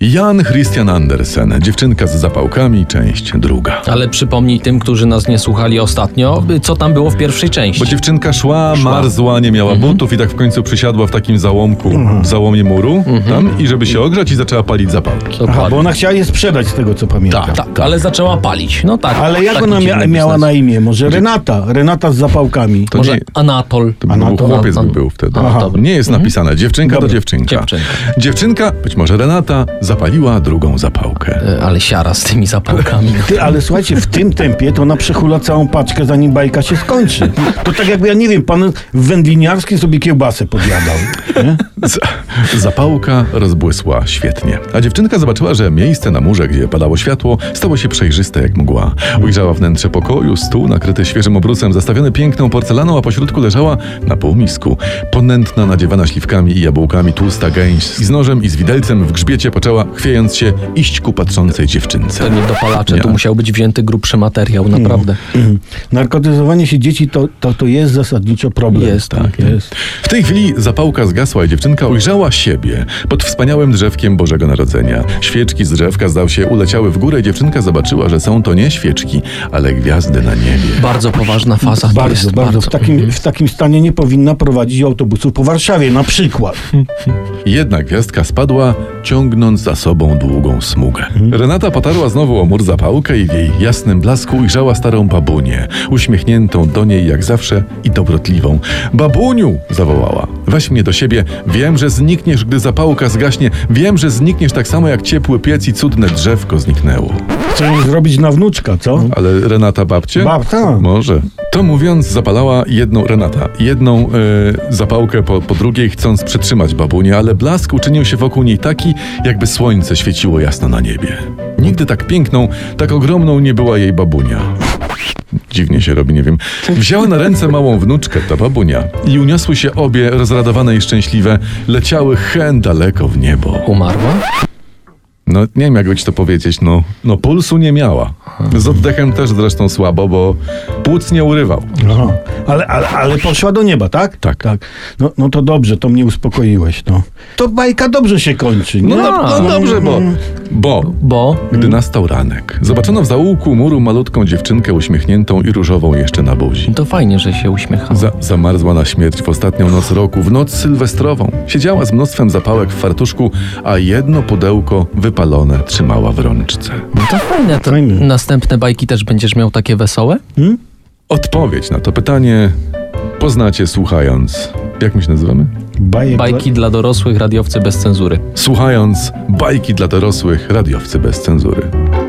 Jan Christian Andersen, dziewczynka z zapałkami, część druga. Ale przypomnij tym, którzy nas nie słuchali ostatnio, by co tam było w pierwszej części. Bo dziewczynka szła, marzła, nie miała butów i tak w końcu przysiadła w takim załomku, w załomie muru tam i żeby się ogrzać i zaczęła palić zapałki. Dokładnie. Aha, bo ona chciała je sprzedać, z tego co pamiętam. tak, tak, ale zaczęła palić. No tak. Ale jak taki ona mia- dziwny miała biznes. na imię? Może Renata? Renata z zapałkami. To Może nie, Anatol. to był Anatol- chłopiec by Anatol. był wtedy. Aha. To Nie jest napisane, dziewczynka to Dobra. dziewczynka. Dziewczynka. Dziewczynka, być może Renata, zapaliła drugą zapałkę. E, Ale siara z tymi zapałkami. Ty, ale słuchajcie, w tym tempie to ona przechula całą paczkę, zanim bajka się skończy. To tak jakby, ja nie wiem, pan w wędliniarskim sobie kiełbasę podjadał. Nie? Z- Zapałka rozbłysła świetnie, a dziewczynka zobaczyła, że miejsce na murze, gdzie padało światło, stało się przejrzyste jak mgła. Ujrzała wnętrze pokoju, stół nakryty świeżym obrusem, zastawiony piękną porcelaną, a pośrodku leżała na półmisku. Ponętna, nadziewana śliwkami i jabłkami, tłusta gęś z nożem i z widelcem w grzbiecie poczęła, chwiejąc się, iść ku patrzącej dziewczynce. To nie dopalacze, tu Nie. musiał być wzięty grubszy materiał, Mm. naprawdę. Narkotyzowanie się dzieci to, to, to jest zasadniczo problem. Jest, tak. Jest. W tej chwili zapałka zgasła i dziewczynka ujrzała siebie pod wspaniałym drzewkiem Bożego Narodzenia. Świeczki z drzewka, zdał się, uleciały w górę i dziewczynka zobaczyła, że są to nie świeczki, ale gwiazdy na niebie. Bardzo poważna faza. to Bardzo, jest, Mhm. bardzo. W, takim, w takim stanie nie powinna prowadzić autobusów po Warszawie na przykład. Jedna gwiazdka spadła, ciągnąc za sobą długą smugę. Renata potarła znowu o mur zapałkę i w jej jasnym blasku ujrzała starą babunię, uśmiechniętą do niej jak zawsze i dobrotliwą. Babuniu! zawołała. Weź mnie do siebie, wiem, że znikniesz, gdy zapałka zgaśnie, wiem, że znikniesz tak samo jak ciepły piec i cudne drzewko zniknęło. Chcę ją zrobić na wnuczka, co? No Ale Renata babcie? Babcia. Może. To mówiąc, zapalała jedną Renata, jedną e, zapałkę po, po drugiej, chcąc przetrzymać babunię, ale blask uczynił się wokół niej taki, jakby słońce świeciło jasno na niebie. Nigdy tak piękną, tak ogromną nie była jej babunia. Dziwnie się robi, nie wiem. Wzięła na ręce małą wnuczkę, ta babunia, i uniosły się obie, rozradowane i szczęśliwe, leciały hen daleko w niebo. Umarła? No nie wiem, jakby ci to powiedzieć, no, no pulsu nie miała. Z oddechem też zresztą słabo, bo płuc nie urywał. Aha. Ale, ale, ale poszła do nieba, tak? No. Tak. tak. No, no to dobrze, to mnie uspokoiłeś. No. To bajka dobrze się kończy. No, nie? no, no dobrze, bo, Mm. bo Bo gdy nastał ranek, zobaczono w zaułku muru malutką dziewczynkę uśmiechniętą i różową jeszcze na buzi. to fajnie, że się No, uśmiechała. Za, zamarzła na śmierć w ostatnią noc roku, w noc sylwestrową. Siedziała z mnóstwem zapałek w fartuszku, a jedno pudełko wypalone trzymała w rączce. No to fajne. To Fajne. następne bajki też będziesz miał takie wesołe? Odpowiedź na to pytanie poznacie słuchając. Jak my się nazywamy? Bajek, Bajki dla dorosłych, radiowcy bez cenzury. słuchając bajki dla dorosłych radiowcy bez cenzury.